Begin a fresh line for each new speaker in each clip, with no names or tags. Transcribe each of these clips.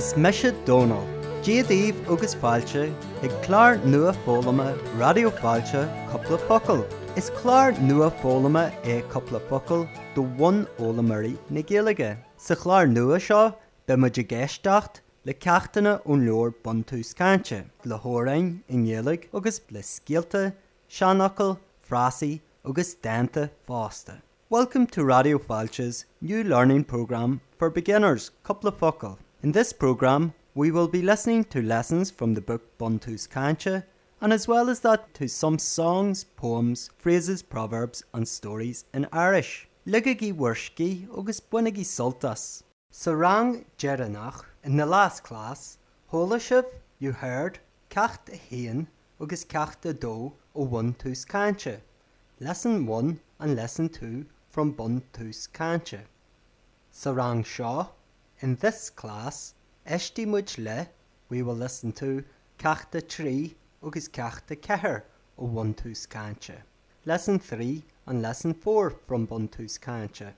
is Misha Donal, déadaobh agus fáilte ag chláir nua fólama radioáilte coppla focail. Is chláir nua e fólama é coppla focail do bhain ólamarí na ggéalaige. Sa chláir nua seo be mu de ggéistecht le ceachtainna ón leor bonú scainte, le hórain in ggéalaigh agus le scialta, seanachil, frásaí agus dananta fásta. Welcome to Radio Falch's new learning program for beginners, Couple of Focal. In this program, we will be listening to lessons from the book Buntu's Kancha, and as well as that, to some songs, poems, phrases, proverbs, and stories in Irish. Ligagi Wershki Ogus Bunigi Sultas. Sarang Jeranach, in the last class, Holishiv, you heard, Kacht Heen, Ogus Kacht Do, O Buntu's Kancha. Lesson 1 and Lesson 2 from Buntu's Kancha. Sarang Shah. In this class, Eshti Mujle, we will listen to Cachta Tree Ugus Cachta Keher o Buntu's Kancha. Lesson 3 and Lesson 4 from Buntu's Kancha.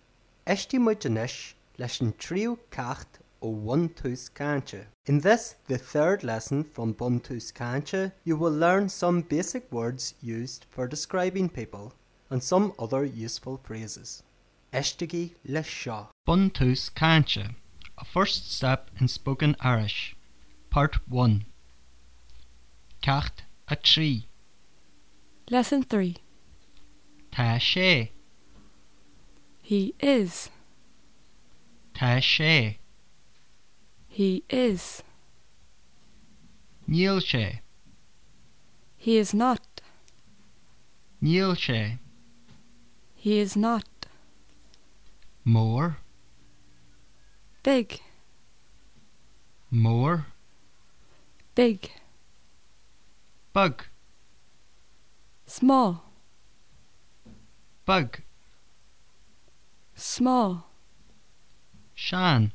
Eshti Mujanish, Lesson Trio Cacht o Buntu's Kancha. In this, the third lesson from Buntu's Kancha, you will learn some basic words used for describing people and some other useful phrases. Eshtigi Lesha. Buntus Kancha. A first step in spoken Irish. Part 1. Cacht a tree.
Lesson 3.
Ta she.
He is.
Ta she.
He is.
Níl she.
He is not.
Níl she.
He is not.
More.
Big.
More.
Big.
Bug.
Small.
Bug.
Small.
Shan.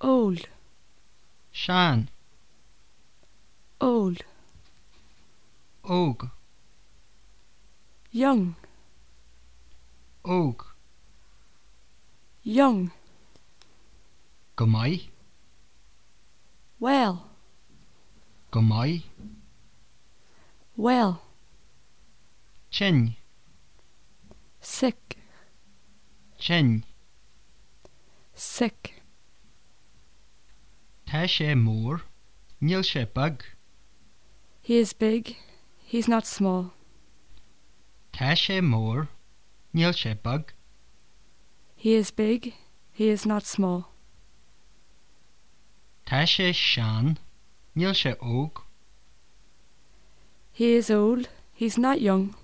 Old.
Shan.
Old.
Og.
Young.
Og.
Young.
Gomai.
Well.
Gomai.
Well.
Chin.
Sick.
Chin.
Sick.
Ta she more. Níl she bug.
He is big. He's not small.
Ta she more. Níl she bug.
He is big. He is not small.
Tá sé sean, níl sé óg,
He is old. He's not young.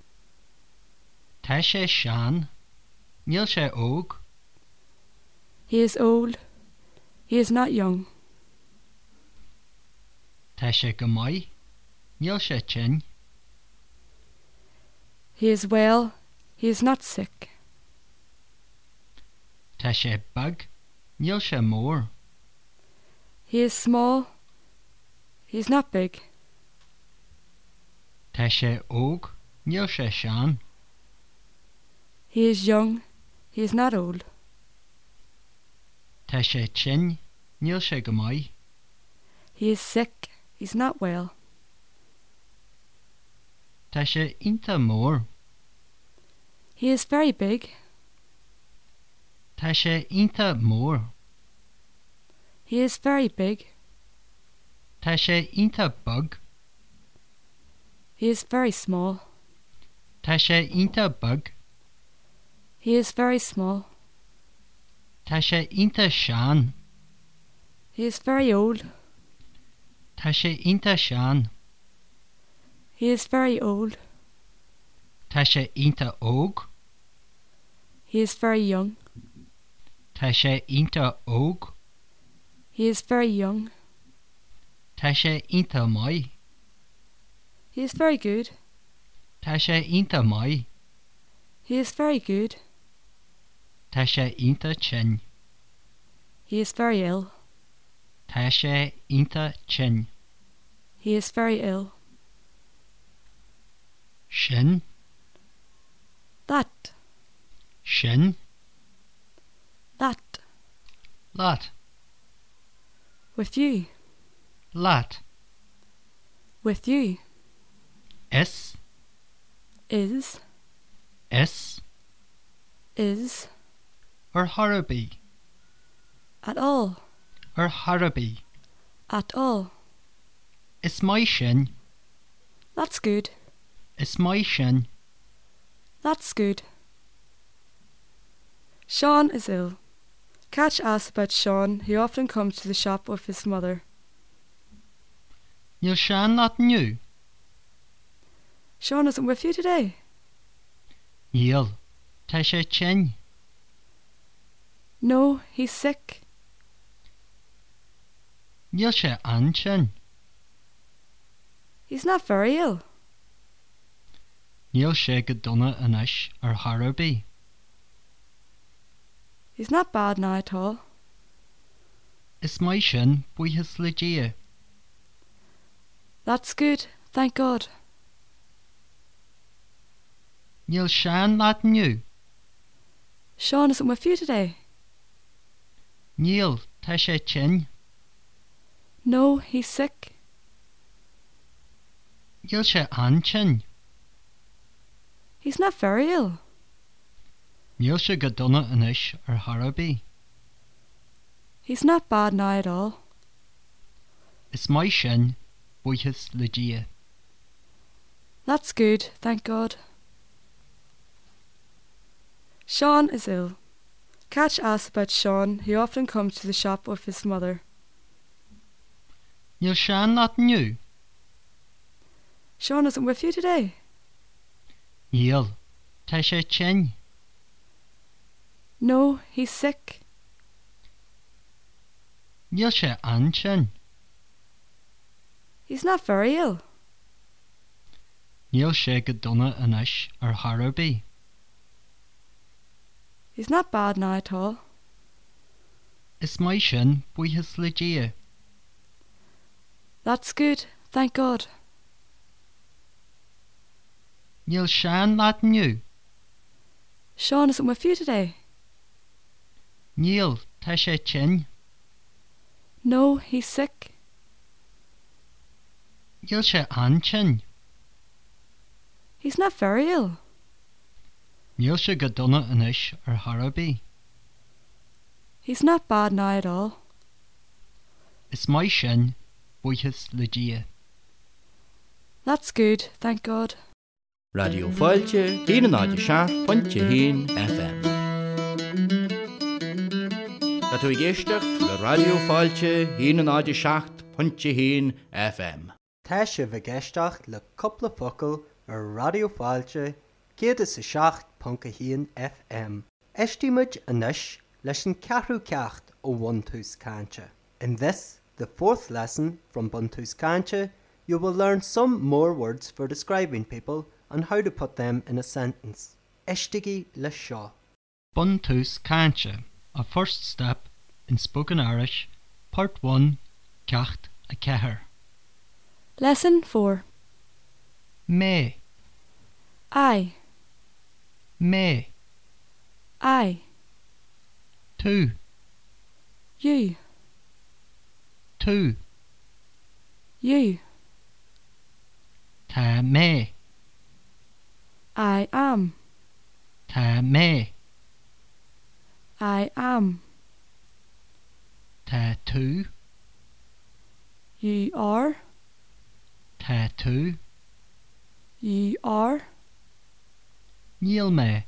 tá sé sean, níl sé óg,
He is old. He is not young.
tá sé go maiid, níl sé tsin,
He is well. He is not sick.
tá sé bag, níl sé mór,
He is small. He's not big.
tá sé óg, níl sé sean,
He is young. He is not old.
tá sé tsin, níl sé go maiid,
He is sick. He's not well.
tá sé inta mór,
He is very big.
tá sé inta mór,
He is very big.
tá sé inta bug,
He is very small.
tá sé inta bug,
He is very small.
tá sé inta sean,
He is very old.
tá sé inta sean,
He is very old.
tá sé inta óg,
He is very young.
tá sé inta óg,
He is very young.
Tá sé inta mai,
He is very good.
tá sé inta mai,
He is very good.
tá sé inta tsin,
He is very ill.
tá sé inta tsin,
He is very ill.
sin,
That.
sin,
That.
lat,
With you.
Lot.
With you.
S.
Is.
S.
Is.
Or Harabi.
At all.
Or Harabi.
At all.
It's my shin.
That's good.
It's my shin.
That's good. Sean is ill. Catch asks about Sean, who often comes to the shop with his mother.
Neil Shan not new.
Sean isn't with you today.
Neil. Tasha Chin.
No, he's sick.
Neil Sha Anchin.
He's not very ill.
Neil Sha Gadonna Anish or Harrowby.
He's not bad now at all.
It's my shin, boy his legia.
That's good, thank God.
Neil Shan not new.
Sean isn't with you today.
Neil Tasha Chin.
No, he's sick.
Neil Sha Anchin.
He's not very ill.
Neil Sha Gadonna Anish or Harrowby.
He's not bad now at all.
It's my shin, boy his legia.
That's good, thank God. Sean is ill. Catch asks about Sean, who often comes to the shop with his mother.
Neil Shan not new.
Sean isn't with you today.
Neil. Tasha Chin.
No, he's sick.
Neil Sha Anchin.
He's not very ill.
Neil Sha Gadonna Anish or Harrowby.
He's not bad now at all.
It's my shin, boy his legia.
That's good, thank God.
Neil Shan not new.
Sean isn't with you today.
Neil Tasha Chin.
No, he's sick.
Neil Sha Anchin.
He's not very ill.
Neil Sha Gadonna Anish or Harabi.
He's not bad now at all.
It's my shin, boy his legia.
That's good, thank God.
رادیو فالچه دیر نادی شهر پنچه هین FM و توی گشتک رادیو فالچه هین نادی شهر پنچه هین FM
Táise bh geisteach le coppla focail ar radioáilte céad is sa seach Pcahíon FM. Estímuid anois leis an ceathrú ceacht ó Buntus Cancha. In this, the fourth lesson from Buntus Cancha, you will learn some more words for describing people and how to put them in a sentence. Estigí le seo.
Buntus Kancha, a first step in spoken Irish, part one, Cacht a Keher.
Lesson 4
Me,
I,
me,
I,
two,
you,
two,
you,
ta me,
I am,
ta me,
I am,
ta two,
you are,
ta two,
you are,
kneel me,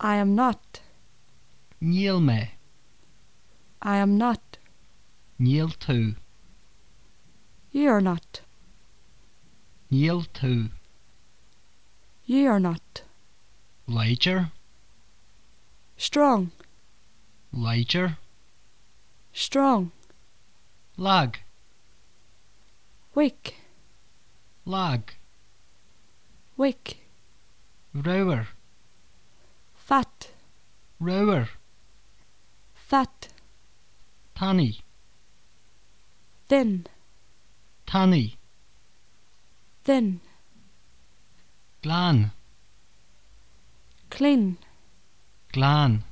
I am not,
kneel me,
I am not,
kneel two,
you are not,
kneel two,
you are not,
liger,
strong,
liger,
strong,
lag,
weak,
lag,
weak,
rower,
fat,
rower,
fat,
tanny,
thin,
tanny,
thin,
glan,
clean,
glan,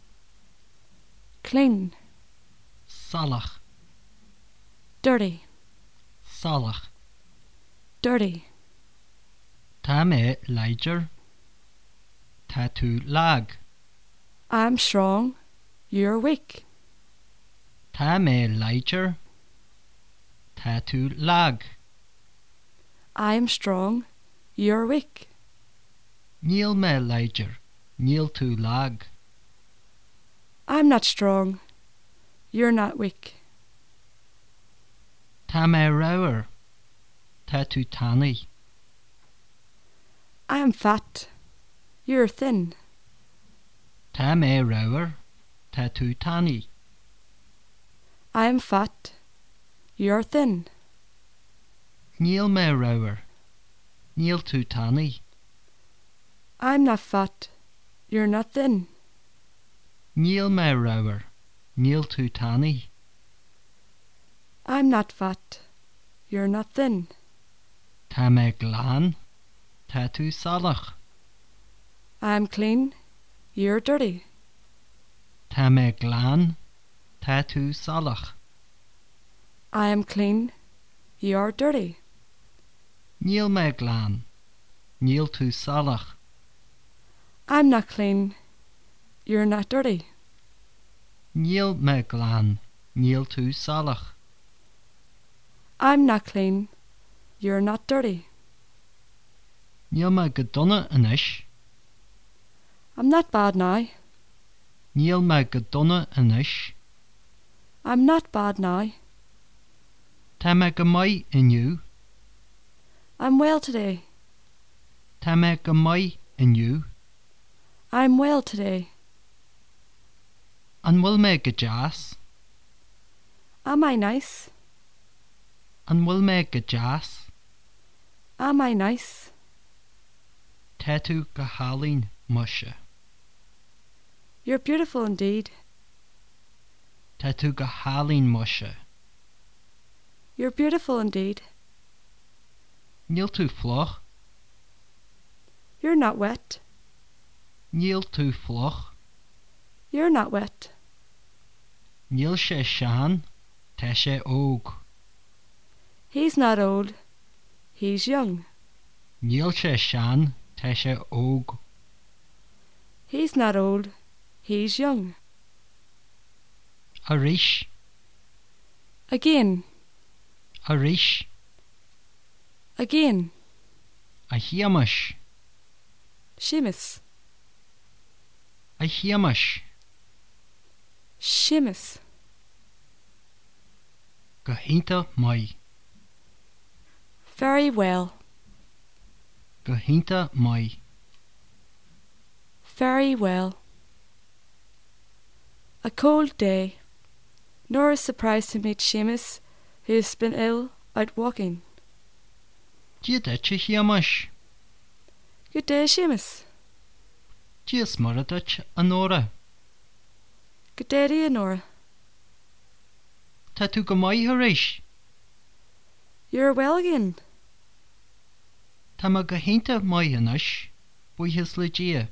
clean,
salach,
dirty,
Salach.
dirty,
Tá mé leidir. Tá tú lag.
I'm strong, you're weak,
Tá mé leidir. Tá tú lag.
I'm strong, you're weak,
Níl mé leidir. Níl tú lag.
I'm not strong, you're not weak,
Tá mé rair. Tá tú tannaí.
I'm fat, you're thin,
Tá mé rair. Tá tú tannaí.
I'm fat, you're thin,
Níl mé rair. Níl tú tannaí.
I'm not fat, you're not thin,
Níl mé rair. Níl tú tannaí.
I'm not fat, you're not thin,
Tá mé glán. Tá tú salach.
I'm clean, you're dirty,
Tá mé glán. Tá tú salach.
I am clean, you're dirty,
Níl mé glán. Níl tú salach.
I'm not clean, you're not dirty.
Níl mé glán. Níl tú salach.
I'm not clean. You're not dirty.
Níl mé go donna inis.
I'm not bad now.
Níl mé go donna inis.
I'm not bad now.
Tá mé go maiid inniu.
I'm well today.
Tá mé go maiid inniu.
I'm well today.
An bhfuil mé go jazz.
Am I nice?
An bhfuil mé go jazz.
Am I nice?
Tá tú go hálín muise.
You're beautiful indeed.
Tá tú go hálín muise.
You're beautiful indeed.
Níl tú floch.
You're not wet.
Níl tú floch.
You're not wet.
Níl sé sean. Tá sé óg.
He's not old. He's young.
Níl sé sean. Tá sé óg.
He's not old. He's young.
A ríis.
Again,
A ríis.
again.
A hiamas.
Seamus.
A hiamas.
Seamus.
Go hinta mai.
Very well.
Go hinta mai.
Very well. A cold day. Nora is surprised to meet Seamus, who has been ill, out walking.
Diad et a hiamas.
Good day, Seamus.
Diad smarad et an ora.
Good day to you, Nora.
Tá tú go mai a ríis.
You're well again.
Tá ma go hinta mai inis. Bui his le dia.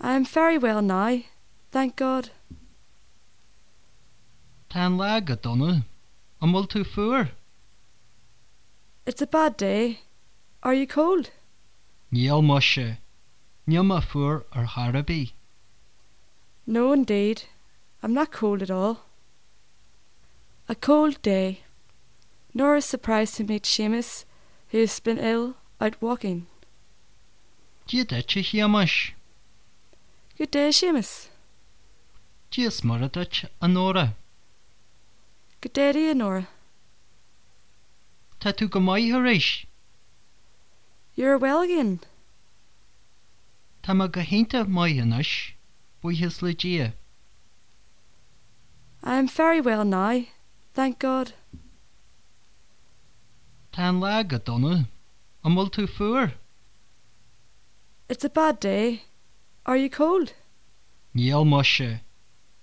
I'm very well now, thank God.
Tá an lag a donna. An bhfuil tú fuair.
It's a bad day. Are you cold?
Níl muise. Níl ma fuair ar harabí.
No, indeed. I'm not cold at all. A cold day. Nora is surprised to meet Seamus, who has been ill, out walking.
Diad et a hiamas.
Good day, Seamus.
Diad smarad et an ora.
Good day to you, Nora.
Tá tú go mai a ríis.
You're well again.
Tá ma go hinta mai inis. Bui his le dia.
I'm very well now, thank God.
Tá an lag a donna. An bhfuil tú fuair.
It's a bad day. Are you cold?
Níl muise.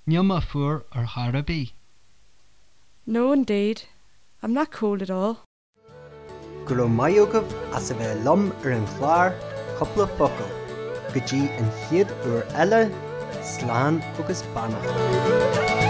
Níl ma fuair ar harabí.
No, indeed. I'm not cold at all.
Gro maiogaf as a bheith lom ar
er
an chláir coppla focail, go dtí an chiad uair eile, sláán agus bannach.